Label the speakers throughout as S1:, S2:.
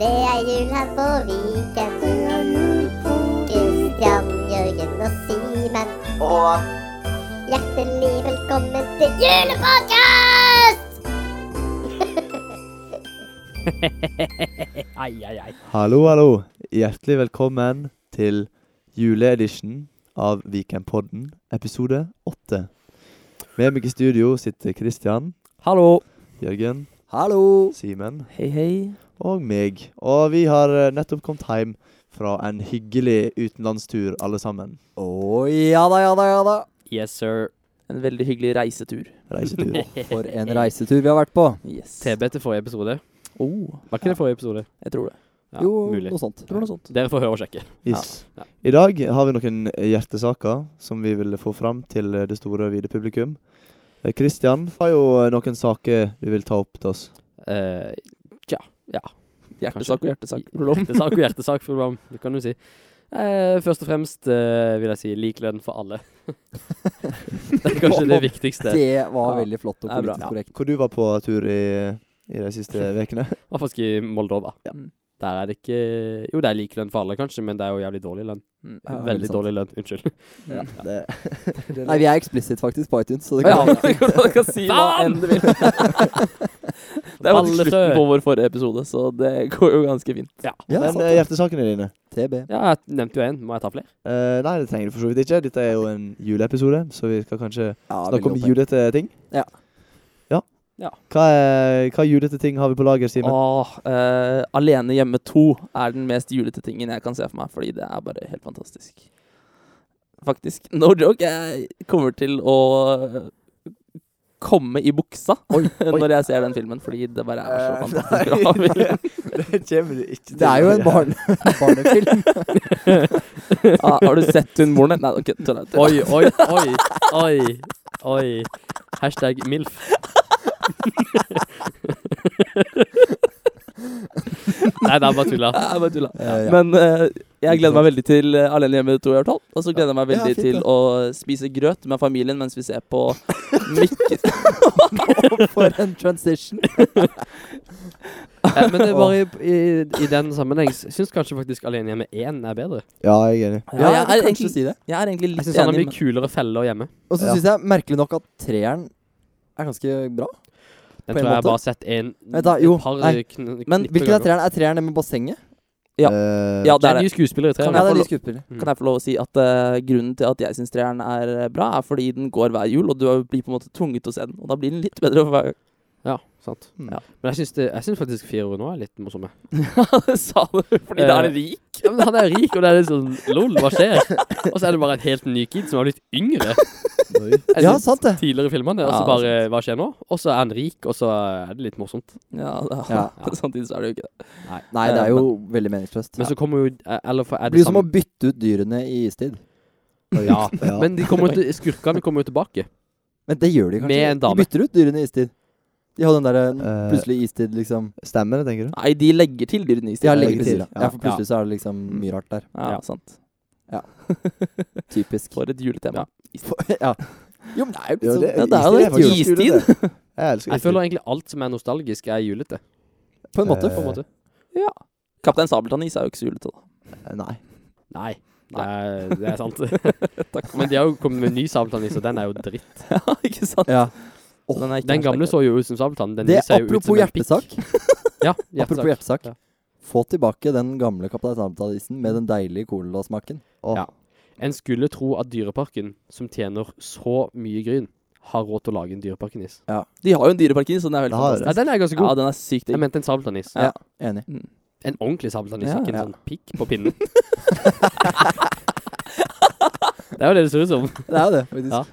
S1: Det er jula på Viken. Kristian, Jørgen og Simen.
S2: Og
S1: Hjertelig velkommen til julepodkast!
S3: Ai, ai, ai.
S4: Hallo, hallo. Hjertelig velkommen til juleedition av Vikingpodden, episode åtte. Med meg i studio sitter Kristian,
S3: Hallo.
S4: Jørgen,
S3: Hallo.
S4: Simen
S3: Hei, hei.
S4: og meg. Og vi har eh, nettopp kommet hjem fra en hyggelig utenlandstur, alle sammen.
S5: Å ja da, ja da, ja da.
S3: Yes, sir.
S6: En veldig hyggelig reisetur.
S4: Reisetur.
S5: For en reisetur vi har vært på.
S6: Yes.
S3: TB til forrige episode.
S6: Oh,
S3: Var ikke det forrige episode?
S6: jeg tror det.
S3: Ja,
S5: jo,
S3: mulig.
S5: noe sånt.
S6: Jeg tror noe sånt.
S3: Dere får høre og sjekke.
S4: Yes.
S3: Ja.
S4: I dag har vi noen hjertesaker som vi vil få fram til eh, det store og vide publikum. Kristian har jo eh, noen saker du vil ta opp til oss.
S3: Eh,
S6: Hjertesak og hjertesak.
S3: hjertesak og hjertesak, program. Det kan du si. Eh, først og fremst eh, vil jeg si lik lønn for alle. det er kanskje det viktigste. I
S5: Det var
S3: Ja.
S5: veldig flott og
S3: Det er bra.
S5: politisk korrekt.
S4: Hvor du var på tur i, i de siste ukene.
S3: hvert fall ikke i Moldova.
S6: Ja. Mm.
S3: Der er det ikke Jo, det er lik lønn for alle, kanskje, men det er jo jævlig dårlig lønn.
S6: Mm.
S5: Ja,
S3: Veldig
S5: sant.
S3: dårlig lønn. Unnskyld.
S5: Nei, vi er explicit faktisk på iTunes, så det
S6: Ja,
S5: kan
S6: du kan, du kan si hva enn du vil. Det var
S3: Alle
S6: slutten
S3: sør.
S6: på vår forrige episode, så det går jo ganske fint.
S5: Ja,
S4: Men
S5: sant
S4: eh,
S5: det.
S4: hjertesakene dine?
S5: TB.
S3: Ja, jeg nevnte jo én. Må jeg ta flere?
S4: Eh, nei, det trenger du for så vidt ikke. Dette er jo en juleepisode, så vi skal kanskje
S5: Ja,
S4: snakke om
S5: veldig opphøyd.
S4: julete ting.
S5: Ja.
S4: Ja.
S3: Ja.
S4: Hva, er, hva julete ting har vi på lager,
S5: Ah,
S4: Simen?
S6: Åh, eh, alene hjemme 2 er den mest julete tingen jeg kan se for meg, fordi det er bare helt fantastisk. Faktisk. No joke. Jeg kommer til å komme i buksa når jeg ser den filmen, fordi det bare er
S5: Eh,
S6: så fantastisk. bra film.
S4: det kommer du ikke til.
S5: Det er jo en barn barnefilm.
S6: Ja, har du sett hun moren din? Nei, ok, tulla. tulla.
S3: Oi, oi, oi, oi, oi. Hashtag MILF. Nei, det er bare tulla.
S6: Jeg bare tulla.
S5: Eh, ja.
S6: Men eh, jeg gleder meg veldig til eh, Alene hjemme 2 i hvert fall. Og så gleder jeg meg
S5: Ja,
S6: veldig
S5: fint,
S6: til
S5: det.
S6: å spise grøt med familien mens vi ser på Mikke.
S5: For en transition.
S3: Eh, men det er bare i, i, i den sammenheng Syns kanskje faktisk Alene hjemme 1 er bedre.
S4: Ja, jeg er enig.
S6: Ja, jeg,
S5: du
S6: er
S5: kan
S6: egentlig,
S5: kanskje si det.
S6: jeg er egentlig
S3: Jeg
S6: litt
S3: syns han har
S6: enig
S3: mye
S6: med
S3: kulere feller hjemme.
S5: Og så
S4: Ja.
S5: syns jeg merkelig nok at treeren er ganske bra.
S3: Den
S5: På en
S3: tror jeg jeg
S5: måte.
S3: bare har sett en
S5: Vent da, jo,
S3: et par
S5: nei.
S3: kn
S5: Men
S3: knippe
S5: hvilken er
S3: ganger.
S5: treeren? Er treeren den med bassenget?
S6: Ja.
S4: Eh,
S6: Ja,
S3: Det
S6: det
S3: er
S6: er det.
S3: nye skuespillere i
S5: Ja,
S6: Kan
S3: treeren.
S5: det
S6: jeg
S5: er
S6: få
S5: de
S6: lov-
S5: skuespillerne.
S6: Kan jeg få lov å si at eh, grunnen til at jeg syns treeren er eh, bra, er fordi den går hver jul, og du blir på en måte tvunget til å se den. Og da blir den litt bedre for hver gang.
S3: Ja, sant.
S4: Hmm.
S3: Ja. Men jeg syns det- jeg syns faktisk 400 nå er litt morsomme.
S6: Sa du fordi da er det rik?
S3: Ja, men han er rik, og det er litt sånn lol, hva skjer? Og så er det bare en helt ny kid som har blitt yngre.
S4: oi.
S3: enn
S5: Ja, sant det.
S3: tidligere filmene, og så
S6: Ja, det er
S3: altså bare Hva skjer nå? Og så er han rik, og så er det litt morsomt.
S6: Ja, da-
S5: Ja.
S6: Samtidig så er det jo ikke det.
S5: Nei, det er
S6: Eh,
S5: jo veldig meningsløst.
S3: Men så kommer jo eh, Eller for, er
S5: Det
S3: det
S5: blir jo som å
S3: samme
S5: bytte ut dyrene i istid.
S4: Oi.
S3: Ja,
S4: Ja.
S3: men de kommer jo til, skurkene kommer jo tilbake.
S5: Men det gjør de kanskje.
S3: Med en dame.
S5: De bytter ut dyrene i istid. De hadde den der eh,
S4: Eh,
S5: plutselig istid, liksom.
S4: Stemmer det, tenker du?
S6: Nei, de legger til de nye
S5: De har
S4: legger
S5: legget til.
S4: til,
S5: Ja.
S4: ja.
S5: for plutselig så er det liksom mye rart der.
S6: Ja,
S3: Ja.
S6: sant.
S5: Typisk.
S6: For et juletema.
S5: ja. Jo, men det er jo
S4: Ja,
S5: liksom
S4: det-
S5: ja, det er
S4: istid er
S5: jo litt
S4: faktisk
S5: jul
S6: julestid.
S4: julete. Jeg elsker
S3: Jeg føler egentlig alt som er nostalgisk, er julete.
S5: på en måte.
S3: På en måte.
S6: Kaptein Sabeltann-is er jo ikke så julete, da.
S4: istid. Eh, Nei.
S3: Nei. Det er, det er sant. Men de har jo kommet med en ny Sabeltann-is, og den er jo dritt.
S6: Ja, ikke sant?
S5: Ja.
S6: Den, er ikke
S3: Den gamle
S6: hashtag.
S3: så jo ut som Sabeltann. Den
S5: Det
S3: nye
S5: er
S3: ser jo ut
S5: apropos
S3: som en pikk.
S5: hjertesak.
S3: Ja,
S5: Apropos
S3: hjertesak.
S5: hjertesak.
S3: Ja.
S5: Få tilbake den gamle Kaptein Sabeltann-isen med den deilige colasmaken.
S4: Åh,
S3: Ja. En skulle tro at Dyreparken, som tjener så mye gryn, har råd til å lage en Dyreparken-is.
S6: De har jo en dyreparkin, så den er veldig
S4: Det har
S6: fantastisk.
S3: Ja, den er ganske
S6: Ja,
S3: god.
S6: den er
S3: Jeg
S6: sykt digg.
S3: mente en Sabeltann-is.
S6: Ja.
S5: Enig.
S3: En ordentlig sabeltannis,
S5: Ja,
S3: ikke en
S5: ja.
S3: sånn pikk på pinnen. det er jo det det ser ut som.
S5: Det er jo det, faktisk.
S3: Ja.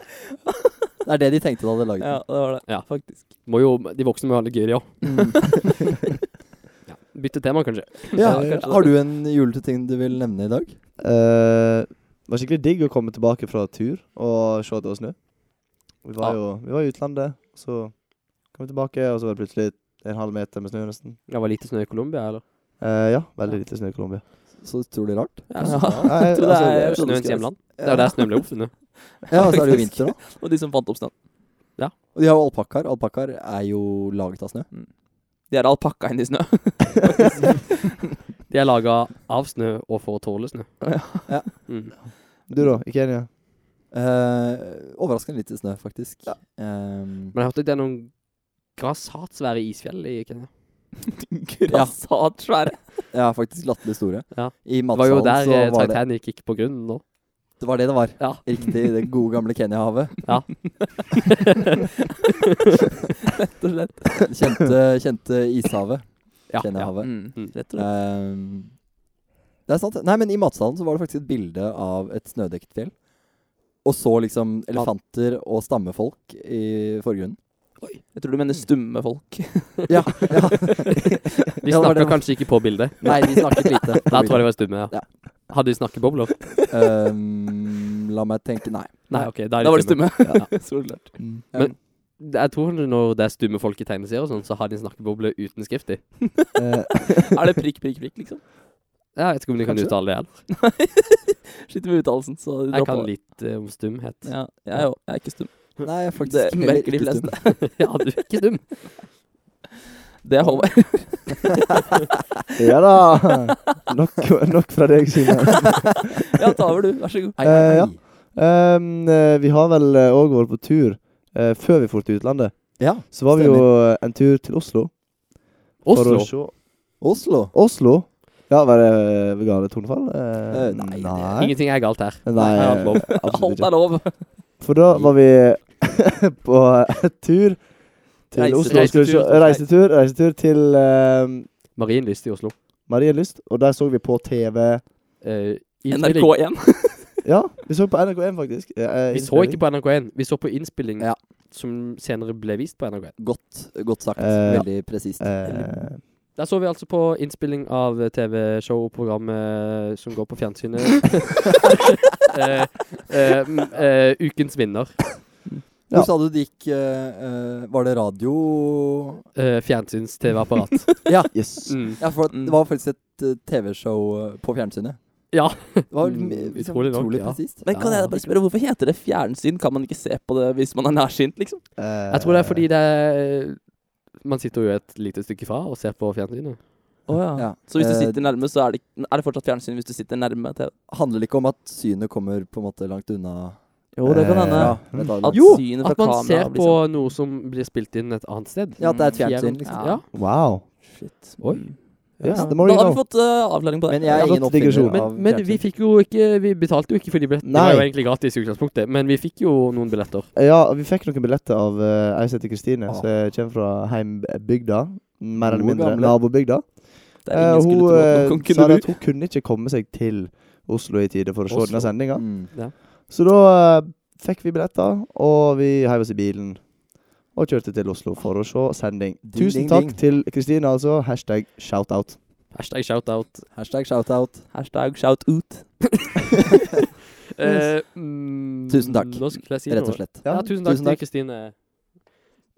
S5: det er det de tenkte da de laget
S6: Ja,
S5: den.
S6: det var det.
S3: Ja.
S6: Faktisk.
S3: Må jo, de voksne må ha det gøy, de òg.
S5: Mm.
S3: Ja. Bytte tema, kanskje.
S5: Ja,
S4: Ja, kanskje.
S5: har du en julete ting du vil nevne i dag?
S4: Eh, det var skikkelig digg å komme tilbake fra tur og se at det var snø. Vi var
S3: Ja.
S4: jo vi var i utlandet, så kom vi tilbake, og så var det plutselig en halv meter med snø nesten.
S3: Det var lite snø i Colombia, eller?
S4: Eh, ja, veldig lite snø i Colombia.
S5: Så utrolig rart.
S6: Ja,
S3: så
S6: ja.
S4: Nei,
S6: Jeg tror det
S4: altså,
S6: er
S3: Snøens hjemland. Det er jo der snøen ble oppfunnet.
S5: Eh, Ja, og så er det jo
S6: faktisk.
S5: vinter, da.
S6: Og de som fant opp snøen.
S5: Og de har jo alpakkaer. Alpakkaer er jo laget av snø.
S6: De er alpakka inni snø.
S3: De er laga av snø og for å tåle snø.
S5: Ja.
S3: Mm.
S4: Du, da? I Kenya?
S5: Eh, overraskende lite snø, faktisk. Ehm,
S3: Men jeg hørte at det er noen grasatsvære isfjell i Kenya.
S6: Grassatsvære.
S5: ja, faktisk latterlig store.
S3: Ja.
S5: I
S3: Det var jo
S5: matsalen
S3: der
S5: sånn så
S3: eh,
S5: var det
S3: Titanic gikk på grunnen nå.
S5: Det var det det var.
S3: Ja.
S5: Riktig. Det gode, gamle Kenya-havet.
S6: Rett og slett.
S5: Kjente, kjente ishavet.
S3: Ja, ja.
S5: Kenya-havet.
S6: Mm.
S3: Mm.
S6: Rett og slett.
S5: Ehm, det er sant. Nei, men i matsalen så var det faktisk et bilde av et snødekket fjell. Og så liksom elefanter og stammefolk i forgrunnen.
S6: Jeg tror du mener stumme folk.
S5: Ja. ja.
S3: De
S5: Ja, det var
S3: snakka
S5: det.
S3: kanskje ikke på bildet.
S5: Nei, de snakket lite.
S3: Der tror jeg de var stumme.
S5: Ja.
S3: Ja. Hadde de snakkebobler?
S5: Ehm, la meg tenke Nei.
S3: Nei, OK. Da, er de
S6: Da var det stumme.
S3: Ja.
S6: Solklart.
S4: Mm.
S3: Jeg tror når det er stumme folk i tegneserier, og sånn, så har de en snakkeboble uten skrift i.
S4: Eh,
S6: Er det prikk, prikk, prikk, liksom?
S3: Jeg vet ikke om de kan
S6: Kanskje.
S3: uttale det heller.
S6: Sliter med uttalelsen, så
S3: Jeg
S6: dropp
S3: kan
S6: over.
S3: litt eh, om stumhet.
S6: Ja, jeg er jo jeg er ikke stum.
S5: Nei, faktisk
S6: Det
S5: heller
S6: merker de
S5: ikke stum.
S6: fleste.
S3: ja, du er ikke stum.
S6: Det er Håvard.
S4: Eh, ja da! Nok, nok fra deg, Signe.
S6: Ja, ta over, du. Vær så god.
S5: Hei, hei,
S4: Eh, ja.
S5: hei.
S4: Ehm, eh, vi har vel òg vært på tur eh, før vi dro til utlandet.
S5: Ja,
S4: Så var vi jo eh, en tur til Oslo. for å
S3: Oslo.
S4: se-
S5: Oslo.
S4: Oslo? Ja, var det uh, gale tonefall? Eh,
S5: Eh, nei, det-
S4: nei.
S3: Ingenting er galt her.
S4: Nei,
S3: Her er alt lov.
S4: absolutt
S6: Alt
S4: ikke.
S6: er lov.
S4: For da var vi på tur til
S6: Reisetur.
S4: Oslo. Skulle vi se-
S6: Reisetur.
S4: reisetur, reisetur til ehm,
S3: Marienlyst i Oslo.
S4: Marienlyst, og der så vi på TV
S3: Eh, innspilling.
S6: NRK1.
S4: Ja, vi så på NRK1, faktisk. Eh,
S3: Vi så ikke på NRK1. Vi så på innspilling
S5: Ja.
S3: som senere ble vist på NRK1.
S5: Godt, godt sagt.
S4: Eh,
S5: Veldig presist.
S4: eh,
S3: Der så vi altså på innspilling av TV-show-programmet som går på fjernsynet. eh, eh, m- eh, ukens vinner.
S4: ja.
S5: Hvor sa du det gikk eh, eh, Var det radio
S3: Eh, Fjernsyns-TV-apparat.
S4: Yes.
S3: Mm.
S5: Ja, for
S6: Mm.
S5: det var faktisk et eh, TV-show på fjernsynet.
S3: Ja.
S5: Det var
S3: Mm,
S5: mm, liksom,
S3: utrolig nok,
S5: utrolig,
S3: ja.
S5: presist.
S6: Men kan jeg bare spørre, hvorfor heter det fjernsyn? Kan man ikke se på det hvis man er nærsynt, liksom?
S4: Eh,
S3: Jeg tror det er fordi det er Man sitter jo et lite stykke fra og ser på fjernsynet.
S5: Ja.
S6: Så hvis du
S5: Eh,
S6: sitter nærme, så er det, er det fortsatt fjernsyn hvis du sitter nærme TV?
S5: handler det ikke om at synet kommer på en måte langt unna
S6: Jo,
S4: det kan hende.
S5: Ja, vet du hva, liksom.
S6: At
S3: Eh, Jo,
S6: synet fra
S3: At man
S6: kameraet
S3: ser
S6: blir
S3: på
S6: sånn.
S3: noe som blir spilt inn et annet sted.
S5: Ja, at det er et
S3: Fjern-
S5: fjernsyn, liksom.
S3: Ja.
S4: Wow.
S6: Shit.
S3: Oi.
S6: Mm.
S4: Yes,
S5: Ja.
S4: the
S6: Da
S4: more you
S6: har vi
S4: know.
S6: fått eh, avklaring på det.
S5: Men jeg
S4: Ja,
S5: er ingen
S4: godt
S5: oppfinner
S4: digresjon.
S5: av
S3: Men, men vi
S5: fjernsyn.
S3: fikk jo ikke Vi betalte jo ikke for de billettene. Det
S4: Nei.
S3: var jo egentlig gratis i utgangspunktet, men vi fikk jo noen billetter.
S4: Ja, vi fikk noen billetter av uh, ei som heter Kristine,
S5: Ah.
S4: som kommer fra heimbygda. Mer eller
S5: Gode
S4: mindre
S5: gamle.
S4: nabobygda.
S6: Det er ingen
S4: Eh,
S6: skulle
S4: hun
S6: tro at noen
S4: eh, sa
S6: kunne
S4: det
S6: bo.
S4: at hun kunne ikke komme seg til Oslo i tide for å se
S3: Oslo.
S4: denne sendinga.
S5: Mm.
S4: Så da eh, fikk vi billetter, og vi heiv oss i bilen. Og kjørte til Oslo for å se sending.
S5: Ding,
S4: Tusen
S5: ding,
S4: takk
S5: ding.
S4: til Kristine, altså. Hashtag shoutout.
S3: Hashtag shoutout.
S5: Hashtag shoutout.
S6: Hashtag shout out.
S3: Eh, mm,
S5: Tusen takk.
S3: Nå skulle jeg si
S5: Rett og
S3: noe.
S5: slett.
S3: Ja, tusen takk
S5: tusen
S3: til
S5: takk.
S3: Kristine.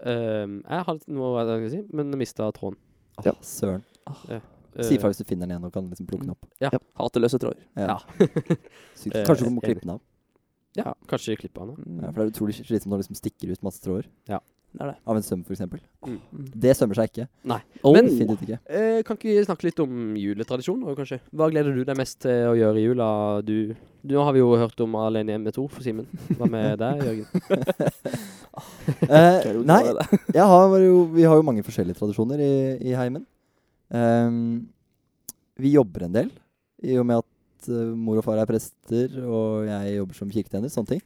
S3: Ehm, jeg hadde noe jeg skulle si, men mista tråden.
S5: Åh,
S4: Ja.
S5: Søren.
S3: Eh,
S5: Si ifra hvis du finner den igjen og kan liksom plukke den opp.
S6: Hateløse tråder.
S5: Ja.
S3: Ja.
S5: Sykt.
S3: Eh,
S5: Kanskje du må
S3: enig.
S5: klippe den av.
S3: ja, kanskje klippe han. da.
S5: Ja, for det er utrolig slitsomt når det liksom stikker ut masse tråder.
S6: Det er det.
S5: Av en søm, for eksempel.
S6: Mm.
S5: Det sømmer seg ikke.
S3: Men
S5: Definitivt ikke.
S3: eh, kan ikke vi snakke litt om juletradisjoner, kanskje? Hva gleder du deg mest til å gjøre i jula? Du, du nå har vi jo hørt om Alene hjemme to for Simen. Hva med deg, Jørgen?
S5: Eh, nei, jeg har jo, vi har jo mange forskjellige tradisjoner i, i heimen. Ehm, vi jobber en del, i og med at eh, mor og far er prester, og jeg jobber som kirketjener. Sånne ting.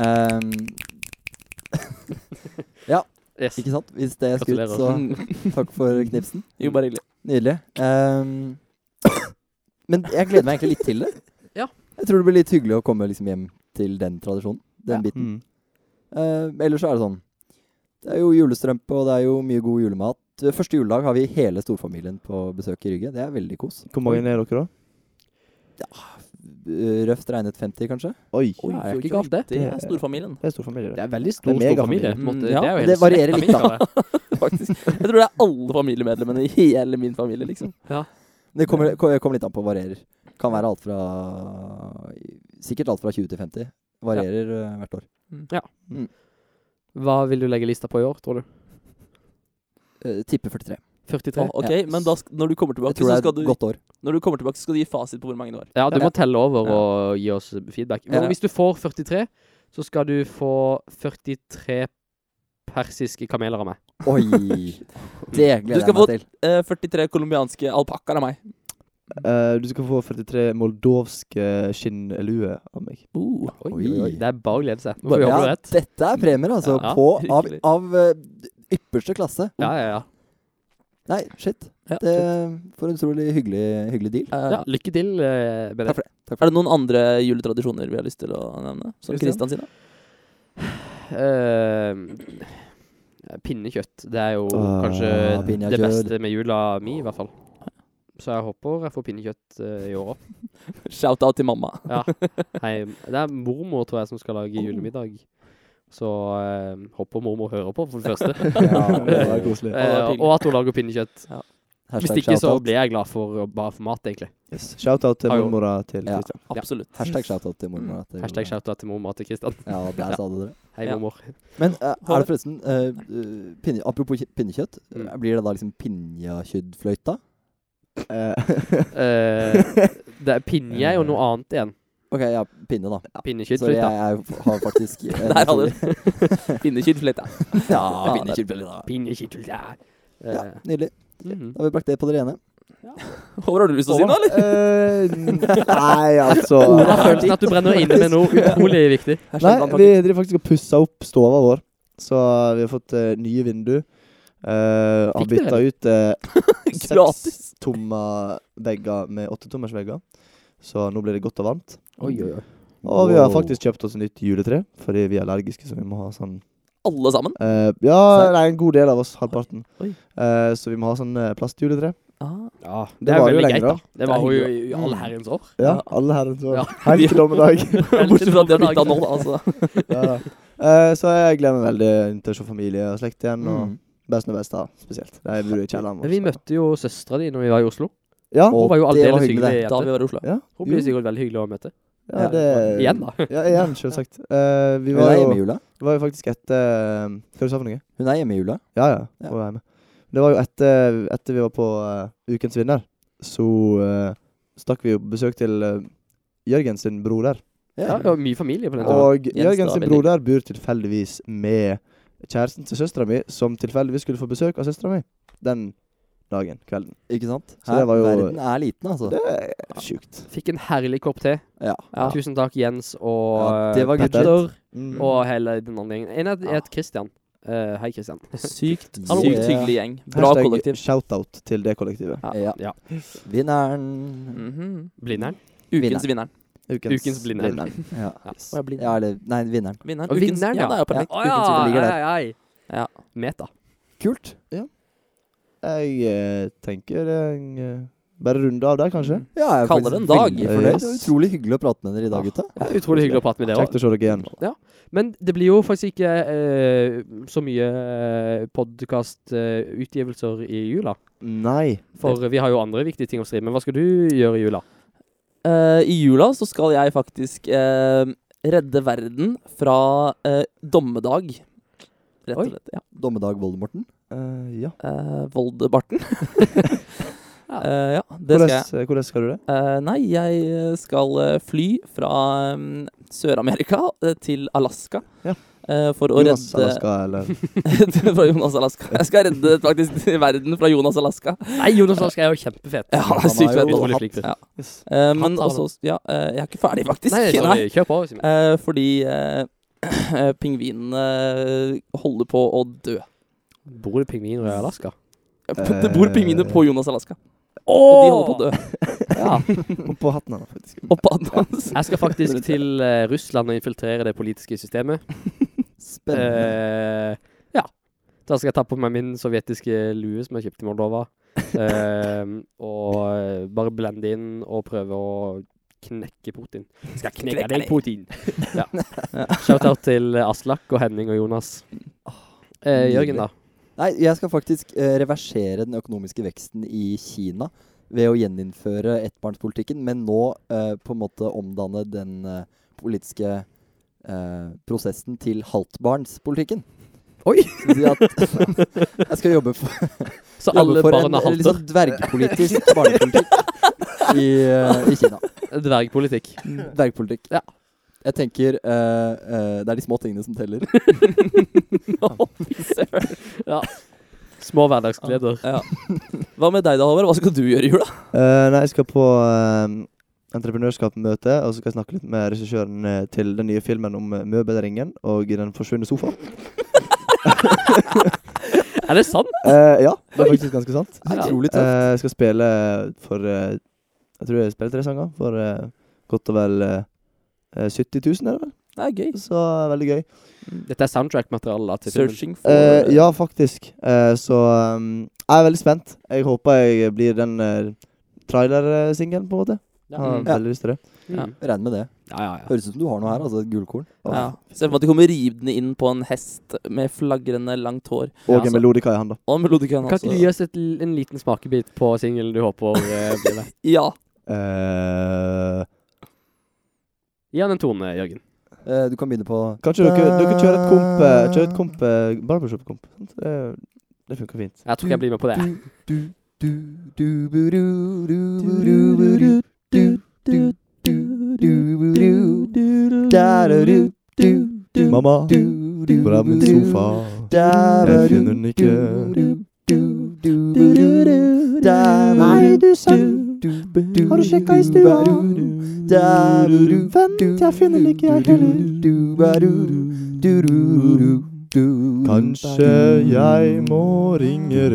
S5: Ehm,
S3: Yes.
S5: ikke sant? Hvis det er skutt, så
S6: Mm.
S5: takk for knipsen.
S6: Jo, bare hyggelig.
S5: Nydelig. Ehm, men jeg gleder meg egentlig litt til det.
S3: Ja.
S5: Jeg tror det blir litt hyggelig å komme liksom hjem til den tradisjonen. Den
S6: Ja.
S5: biten.
S4: Mm.
S5: Eh, ellers så er det sånn Det er jo julestrømpe, og det er jo mye god julemat. Eh, Første juledag har vi hele storfamilien på besøk i Rygge. Det er veldig kos.
S4: Hvor mange er dere, da?
S5: Eh, Røft regnet 50, kanskje.
S3: Oi,
S4: Oi.
S3: det er jo
S6: oi,
S3: ikke galt, det.
S6: Det er storfamilien.
S4: Det er stor familie,
S3: Det
S4: det.
S3: er veldig stor,
S4: Det er
S3: stor familie.
S4: megafamilie.
S3: på en måte.
S6: Mm, ja,
S3: det, er jo
S5: det
S3: hele
S5: varierer
S3: slekta
S5: litt,
S3: mi,
S5: da.
S3: tror jeg.
S6: faktisk. Jeg tror det er alle familiemedlemmene i hele min familie, liksom.
S5: Det kommer, ko- kommer litt an på varierer. Kan være alt fra Sikkert alt fra 20 til 50. Varierer eh, hvert år.
S3: Mm. Hva vil du legge lista på i år, tror du?
S5: Eh, tipper 43.
S3: 43.
S6: Å, ok, Men da, sk- når, du kommer tilbake,
S5: Jeg tror
S6: så
S5: det er
S6: skal
S5: et
S6: du,
S5: godt år.
S6: når du kommer tilbake, så skal du gi fasit på hvor mange det var.
S3: Ja, du
S5: Ja.
S3: må telle over og gi oss feedback. Men
S5: Ja.
S3: hvis du får 43, så skal du få 43 persiske kameler av meg.
S5: Oi! Det gleder
S6: skal
S5: jeg
S6: få-
S5: meg til.
S6: Eh, 43 colombianske alpakkaer av meg.
S4: Eh, du skal få 43 moldovske skinnluer av meg.
S6: Uh,
S3: Oi,
S5: Oi.
S3: oi, oi. Det er bare å glede seg. Nå får vi håpe du
S5: Ja,
S3: har rett.
S5: dette er premier, altså.
S3: Ja,
S5: på, av,
S6: virkelig.
S5: av eh, ypperste klasse.
S3: Ja, ja, ja.
S5: Nei, shit.
S6: ja.
S5: Det, for en utrolig hyggelig, hyggelig deal.
S6: Eh,
S3: ja lykke til eh, med
S5: Takk
S3: det.
S5: for det. Takk
S6: Er
S5: for det.
S6: det noen andre juletradisjoner vi har lyst til å nevne? Som
S5: Christian?
S6: Kristian sine?
S3: Eh, pinnekjøtt. Det er jo
S4: Ah,
S3: kanskje
S5: pinnekjøtt.
S3: det beste med jula mi, i hvert fall. Så jeg håper jeg får pinnekjøtt eh, i år òg.
S6: Shout-out til mamma.
S3: Hei, det er mormor, tror jeg, som skal lage julemiddag. Så eh, håper mormor hører på, for det første.
S5: Ja, det var
S4: koselig.
S6: det er
S3: Eh,
S6: hyggelig.
S3: og at hun lager pinnekjøtt. Hvis
S5: Hashtag
S3: ikke, så
S5: shoutout.
S3: blir jeg glad for å bare få mat, egentlig.
S4: Yes. Shout-out til
S3: Har jo-
S4: mormora til
S5: Ja.
S4: Christian.
S6: Absolutt.
S5: Hashtag shoutout til mormor. at det-
S3: Hashtag shoutout til mormor til Kristian.
S5: Ja, der sa du det.
S3: Hei,
S6: Ja.
S3: mormor.
S5: Men eh, er det forresten eh, eh, pinne, Apropos ki- pinnekjøtt,
S3: Mm.
S5: eh, blir det da liksom pinjakjøttfløyta?
S4: Eh,
S3: Eh, det er pinje er jo noe annet igjen.
S5: OK, ja, pinne, da.
S3: Pinnekjøtt.
S5: Så jeg
S3: Ja.
S5: er, har faktisk en
S6: Der hadde
S5: utrolig-
S6: du Pinnekjøttfløyta.
S5: Ja,
S6: Pinnekjøttfløyta.
S3: Pinnekjøtt. Ja. Eh,
S5: ja, Nydelig.
S3: mhm.
S5: Da har vi brakt det på det rene.
S6: Håvard, har du lyst til å si noe, eller?
S4: eh, nei, altså
S3: Hvordan er følelsen at du brenner inne med noe utrolig viktig?
S4: Nei, vi driver faktisk og pusser opp stova vår. Så vi har fått eh, nye vindu. Eh, har
S3: Fikk
S4: bytta
S3: dere
S4: ut uh,
S6: Gratis.
S4: sekstomma vegger med åttetommersvegger. Så nå blir det godt og varmt.
S3: Oi, oi, oi.
S4: Og vi har
S5: Wow.
S4: faktisk kjøpt oss et nytt juletre, fordi vi er allergiske, så vi må ha sånn
S6: Alle sammen?
S4: eh, Ja,
S5: Serr?
S4: nei, en god del av oss, halvparten.
S6: Oi.
S4: Eh, så vi må ha sånn eh, plastjuletre.
S3: Ja, det,
S4: Det
S3: er
S4: varer jo
S3: veldig
S4: lenger,
S3: greit, da.
S4: da.
S3: Det var jo i
S6: hyggelig,
S3: i
S6: da.
S3: alle herrens år.
S4: Ja,
S6: Ja.
S4: alle herrens år.
S3: Ja.
S4: Helt til dommedag.
S6: Bortsett fra at de har bytta nå, da. Altså.
S4: ja, da. Eh, så jeg gleder meg veldig til å se familie og slekt igjen. Og
S5: Mm.
S4: Besten og besta, spesielt. De bor i kjelleren vår.
S3: Men vi
S4: så-
S3: møtte jo søstera di når vi var i Oslo.
S4: Ja,
S3: Hun var jo
S5: det var
S3: aldeles
S5: hyggelig,
S3: hyggelig.
S6: Da
S3: jente.
S6: vi var i Oslo.
S4: ja,
S3: Hun
S4: jo,
S3: blir sikkert veldig hyggelig å møte.
S4: ja, det,
S3: Igjen, da.
S4: Ja, igjen, selvsagt. Eh, vi
S5: Hun
S4: var
S5: er
S4: jo,
S5: hjemme i jula.
S4: det var jo faktisk etter Hva du sa for noe?
S5: Hun er hjemme i jula.
S4: Ja, ja.
S5: Ja.
S4: Hun var hjemme. Det var jo etter, etter vi var på eh, Ukens vinner, så eh, stakk vi jo på besøk til eh, Jørgen sin broder.
S3: Ja, det var mye familie på den turen.
S4: Og
S6: da,
S4: Jørgen sin
S6: veldig.
S4: broder bor tilfeldigvis med kjæresten til søstera mi, som tilfeldigvis skulle få besøk av søstera mi den dagen, kvelden.
S5: Ikke sant?
S4: Så det var jo-
S5: Verden er liten, altså.
S4: Det er sjukt.
S3: Fikk en herlig kopp te.
S5: Ja.
S6: Ja.
S3: Tusen takk, Jens og
S5: Ja, det var
S3: eh,
S5: good shit.
S3: Petter
S4: Mm.
S3: og hele den andre gjengen. En het het Christian. Eh, hei, Christian.
S6: Sykt,
S5: Hallo.
S6: sykt hyggelig gjeng. Bra
S4: Hashtag
S6: kollektiv.
S4: Shoutout til det kollektivet.
S5: Ja.
S3: Ja.
S5: Vinneren
S6: Mhm.
S3: Blindern.
S6: Ukens vinneren.
S3: Ukens blinderen.
S5: ja.
S6: Å, jeg er blind.
S5: ja, eller Nei, vinneren.
S6: Vinneren.
S3: Og
S6: Ukens-
S3: vinneren,
S6: ja.
S3: ja.
S6: Det er jo perfekt.
S3: Å,
S6: Ukens vinner ligger der.
S3: ja, ja,
S6: Ja.
S3: ja. Meta.
S5: Kult.
S4: Jeg eh, tenker jeg eh, bare runde av der, kanskje.
S5: Ja, jeg er faktisk
S6: Kaller det en dag. Ah.
S5: veldig fornøyd.
S4: Yes.
S5: Det var Utrolig hyggelig å prate med dere i dag, gutta.
S3: Ja, Utrolig hyggelig å prate med dere
S4: Kjekt
S3: òg.
S4: å se dere igjen.
S3: Men det blir jo faktisk ikke eh, så mye eh, podkastutgivelser i jula.
S4: Nei.
S3: For vi har jo andre viktige ting å skrive. Men hva skal du gjøre i jula?
S6: Eh, I jula så skal jeg faktisk eh, redde verden fra eh, dommedag. Rett og
S3: Oi.
S6: slett. Ja.
S5: Dommedag Voldemorten.
S4: Eh, ja.
S6: Eh, Voldebarten.
S3: Ja.
S6: Eh, ja, det skal jeg.
S4: Hvordan, hvordan skal du det?
S6: Eh, nei, jeg eh, skal eh, fly fra mm, Sør-Amerika eh, til Alaska.
S4: Ja.
S6: eh, for å
S4: Jonas
S6: redde
S4: Alaska, eller?
S6: fra Jonas Alaska. Jeg skal redde faktisk verden fra Jonas Alaska.
S3: Nei, Jonas Larsk er jo kjempefet.
S6: Ja, han er
S5: Han
S6: sykt
S5: har
S6: fett.
S5: jo
S3: Utrolig
S5: hatt-
S3: flink fyr.
S6: Ja.
S4: Yes.
S6: Eh, men
S3: Han tar
S6: også Ja, eh, jeg er ikke ferdig, faktisk.
S3: Nei, sorry. Kjør på. Simen.
S6: Eh, fordi eh, pingvinene holder på å dø.
S3: Bor det pingviner i Alaska?
S6: Det bor pingviner på Jonas Alaska, og de holder på å
S3: Oh!
S6: dø. Ja,
S4: På, på hatten hans, faktisk.
S6: og på hans.
S3: Jeg skal faktisk til eh, Russland og infiltrere det politiske systemet.
S5: Spennende.
S3: Eh, ja. Da skal jeg ta på meg min sovjetiske lue som jeg kjøpte i Moldova. Eh, og eh, bare blende inn og prøve å knekke Putin. Skal knekke deg, Putin! Ja. Shout-out til eh, Aslak og Henning og Jonas. Eh, Jørgen, da?
S5: Nei, jeg skal faktisk eh, reversere den økonomiske veksten i Kina ved å gjeninnføre ettbarnspolitikken, men nå eh, på en måte omdanne den eh, politiske eh, prosessen til halvtbarnspolitikken.
S3: Oi!
S5: Så si at jeg skal jobbe for
S3: Så alle
S5: Jobber for en
S3: barna
S5: eh,
S3: halter.
S5: liksom dvergpolitisk barnepolitikk i, eh, i Kina.
S3: Dvergpolitikk.
S5: Dvergpolitikk. Ja. Jeg tenker eh, eh, det er de små tingene som teller.
S6: Å, fy søren.
S3: Små hverdagsgleder.
S6: Hva med deg da, Håvard? Hva skal du gjøre i jula?
S4: Eh, nei, jeg skal på eh, entreprenørskapsmøte, og så skal jeg snakke litt med regissøren eh, til den nye filmen om eh, møbelringen og Den forsvunne sofa.
S5: Ah.
S3: Er det sant?
S4: Eh, ja, det er faktisk ganske sant.
S3: Ja.
S5: Utrolig tøft.
S4: Eh, jeg skal spille for eh, Jeg tror jeg spiller tre sanger for eh, godt og vel eh, eh, 70 000, er det vel?
S6: Det er gøy.
S4: Så eh, veldig gøy.
S3: Dette er soundtrack-materiale da, til filmen.
S6: Searching for
S4: Eh, ja, faktisk. Eh, så um, jeg er veldig spent. Jeg håper jeg blir den uh, trailersingelen, på en måte. Jeg har
S6: Mm.
S5: Ja.
S4: veldig lyst til det.
S3: Ja. Mm.
S5: Regner med det.
S3: ja, ja, ja.
S5: Høres ut som du har noe her, altså et gullkorn.
S6: Ja. Se for meg at de kommer ridende inn på en hest med flagrende langt hår.
S4: Og
S6: Ja,
S4: en
S5: altså-
S6: så-
S4: melodika i handa.
S6: Og melodikaen
S3: Kan ikke du
S6: også.
S3: gi oss et, l- en liten smakebit på singelen du håper eh, blir det?
S6: Ja.
S4: Eh,
S3: Gi han en tone, Jørgen.
S5: Eh, du kan begynne på
S4: kanskje dere, dere kjører et komp, eh, kjører et komp eh, barbershop-komp. sant? Det, det funker fint.
S3: Jeg tror ikke jeg blir med på det.
S5: du, du, du, bu, du, du, bu, du, bu, du, du, du, du, du, bu, du. Da, da, du, du, du,
S4: Mamma,
S5: du, du, bu,
S4: fram med
S5: du.
S4: sofa.
S5: Da, da,
S4: Jeg
S5: du,
S4: finner den ikke.
S5: du, du, du, du, bu, du. Da, da,
S4: Hva er det du sa?
S5: du, du, bu, du,
S4: Har du sjekka i stua?
S5: bu, du, da, bu, du,
S4: Vent, jeg finner den ikke, jeg heller.
S5: Du, bu, du, du, du, du, du.
S4: Kanskje jeg må ringe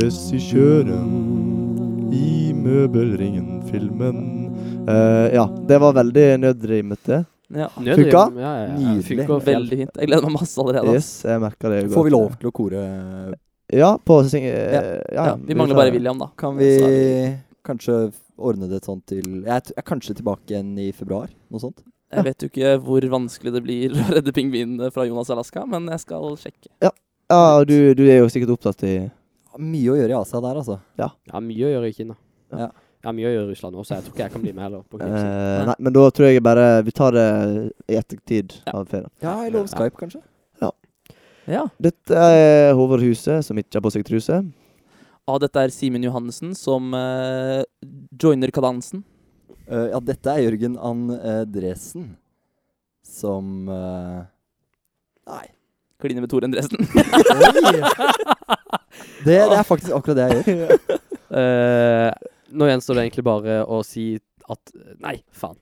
S4: regissøren i Møbelringen-filmen. Eh, ja, det var veldig nødrimete.
S6: ja.
S3: Nødrim,
S4: Funka?
S3: Ja, ja, ja.
S5: Nydelig.
S3: Funka vel.
S6: Veldig fint. Jeg gleder meg masse allerede. ass.
S4: Yes, jeg merka det.
S5: Får vi
S4: godt.
S5: lov til å kore
S4: Ja, på sing... eh,
S5: Ja.
S4: ja,
S6: Ja, vi mangler bare William, da.
S5: Kan vi
S6: vi
S5: kanskje ordne det sånn til Jeg er, t- jeg er kanskje tilbake igjen i februar, noe sånt.
S6: Jeg vet jo ikke hvor vanskelig det blir å redde pingvinene fra Jonas Alaska, men jeg skal sjekke.
S4: Ja, og du, du er jo sikkert opptatt i
S5: Mye å gjøre i Asia der, altså.
S3: Ja, mye å gjøre i Kina.
S5: Ja.
S3: Ja, mye å gjøre i Russland også. Jeg tror ikke jeg kan bli med heller. På
S4: Eh,
S3: knipsing.
S4: Nei, men da tror jeg bare vi tar det i ettertid
S6: Ja.
S4: av ferien.
S5: Eh, Ja, i lov Skype, kanskje.
S6: Ja.
S4: Dette er Håvard Huse, som ikke har på seg truse.
S6: Og Ah, dette er Simen Johannessen som eh, joiner kadansen.
S5: Eh, ja, dette er Jørgen Andresen som eh, Nei.
S6: Kliner med Toren Dresden.
S5: Det, det er faktisk akkurat det jeg gjør.
S3: Eh, nå gjenstår det egentlig bare å si at Nei, faen.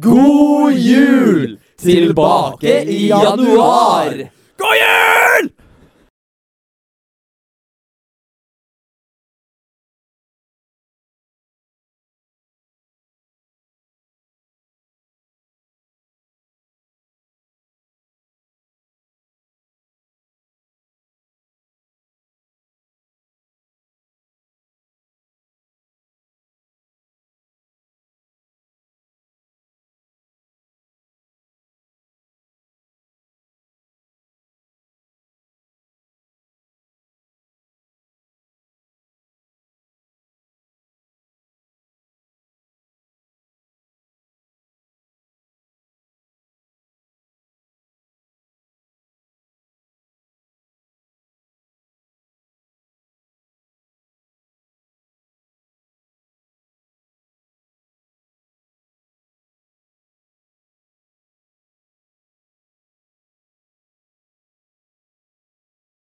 S6: God jul! Tilbake i januar! God jul!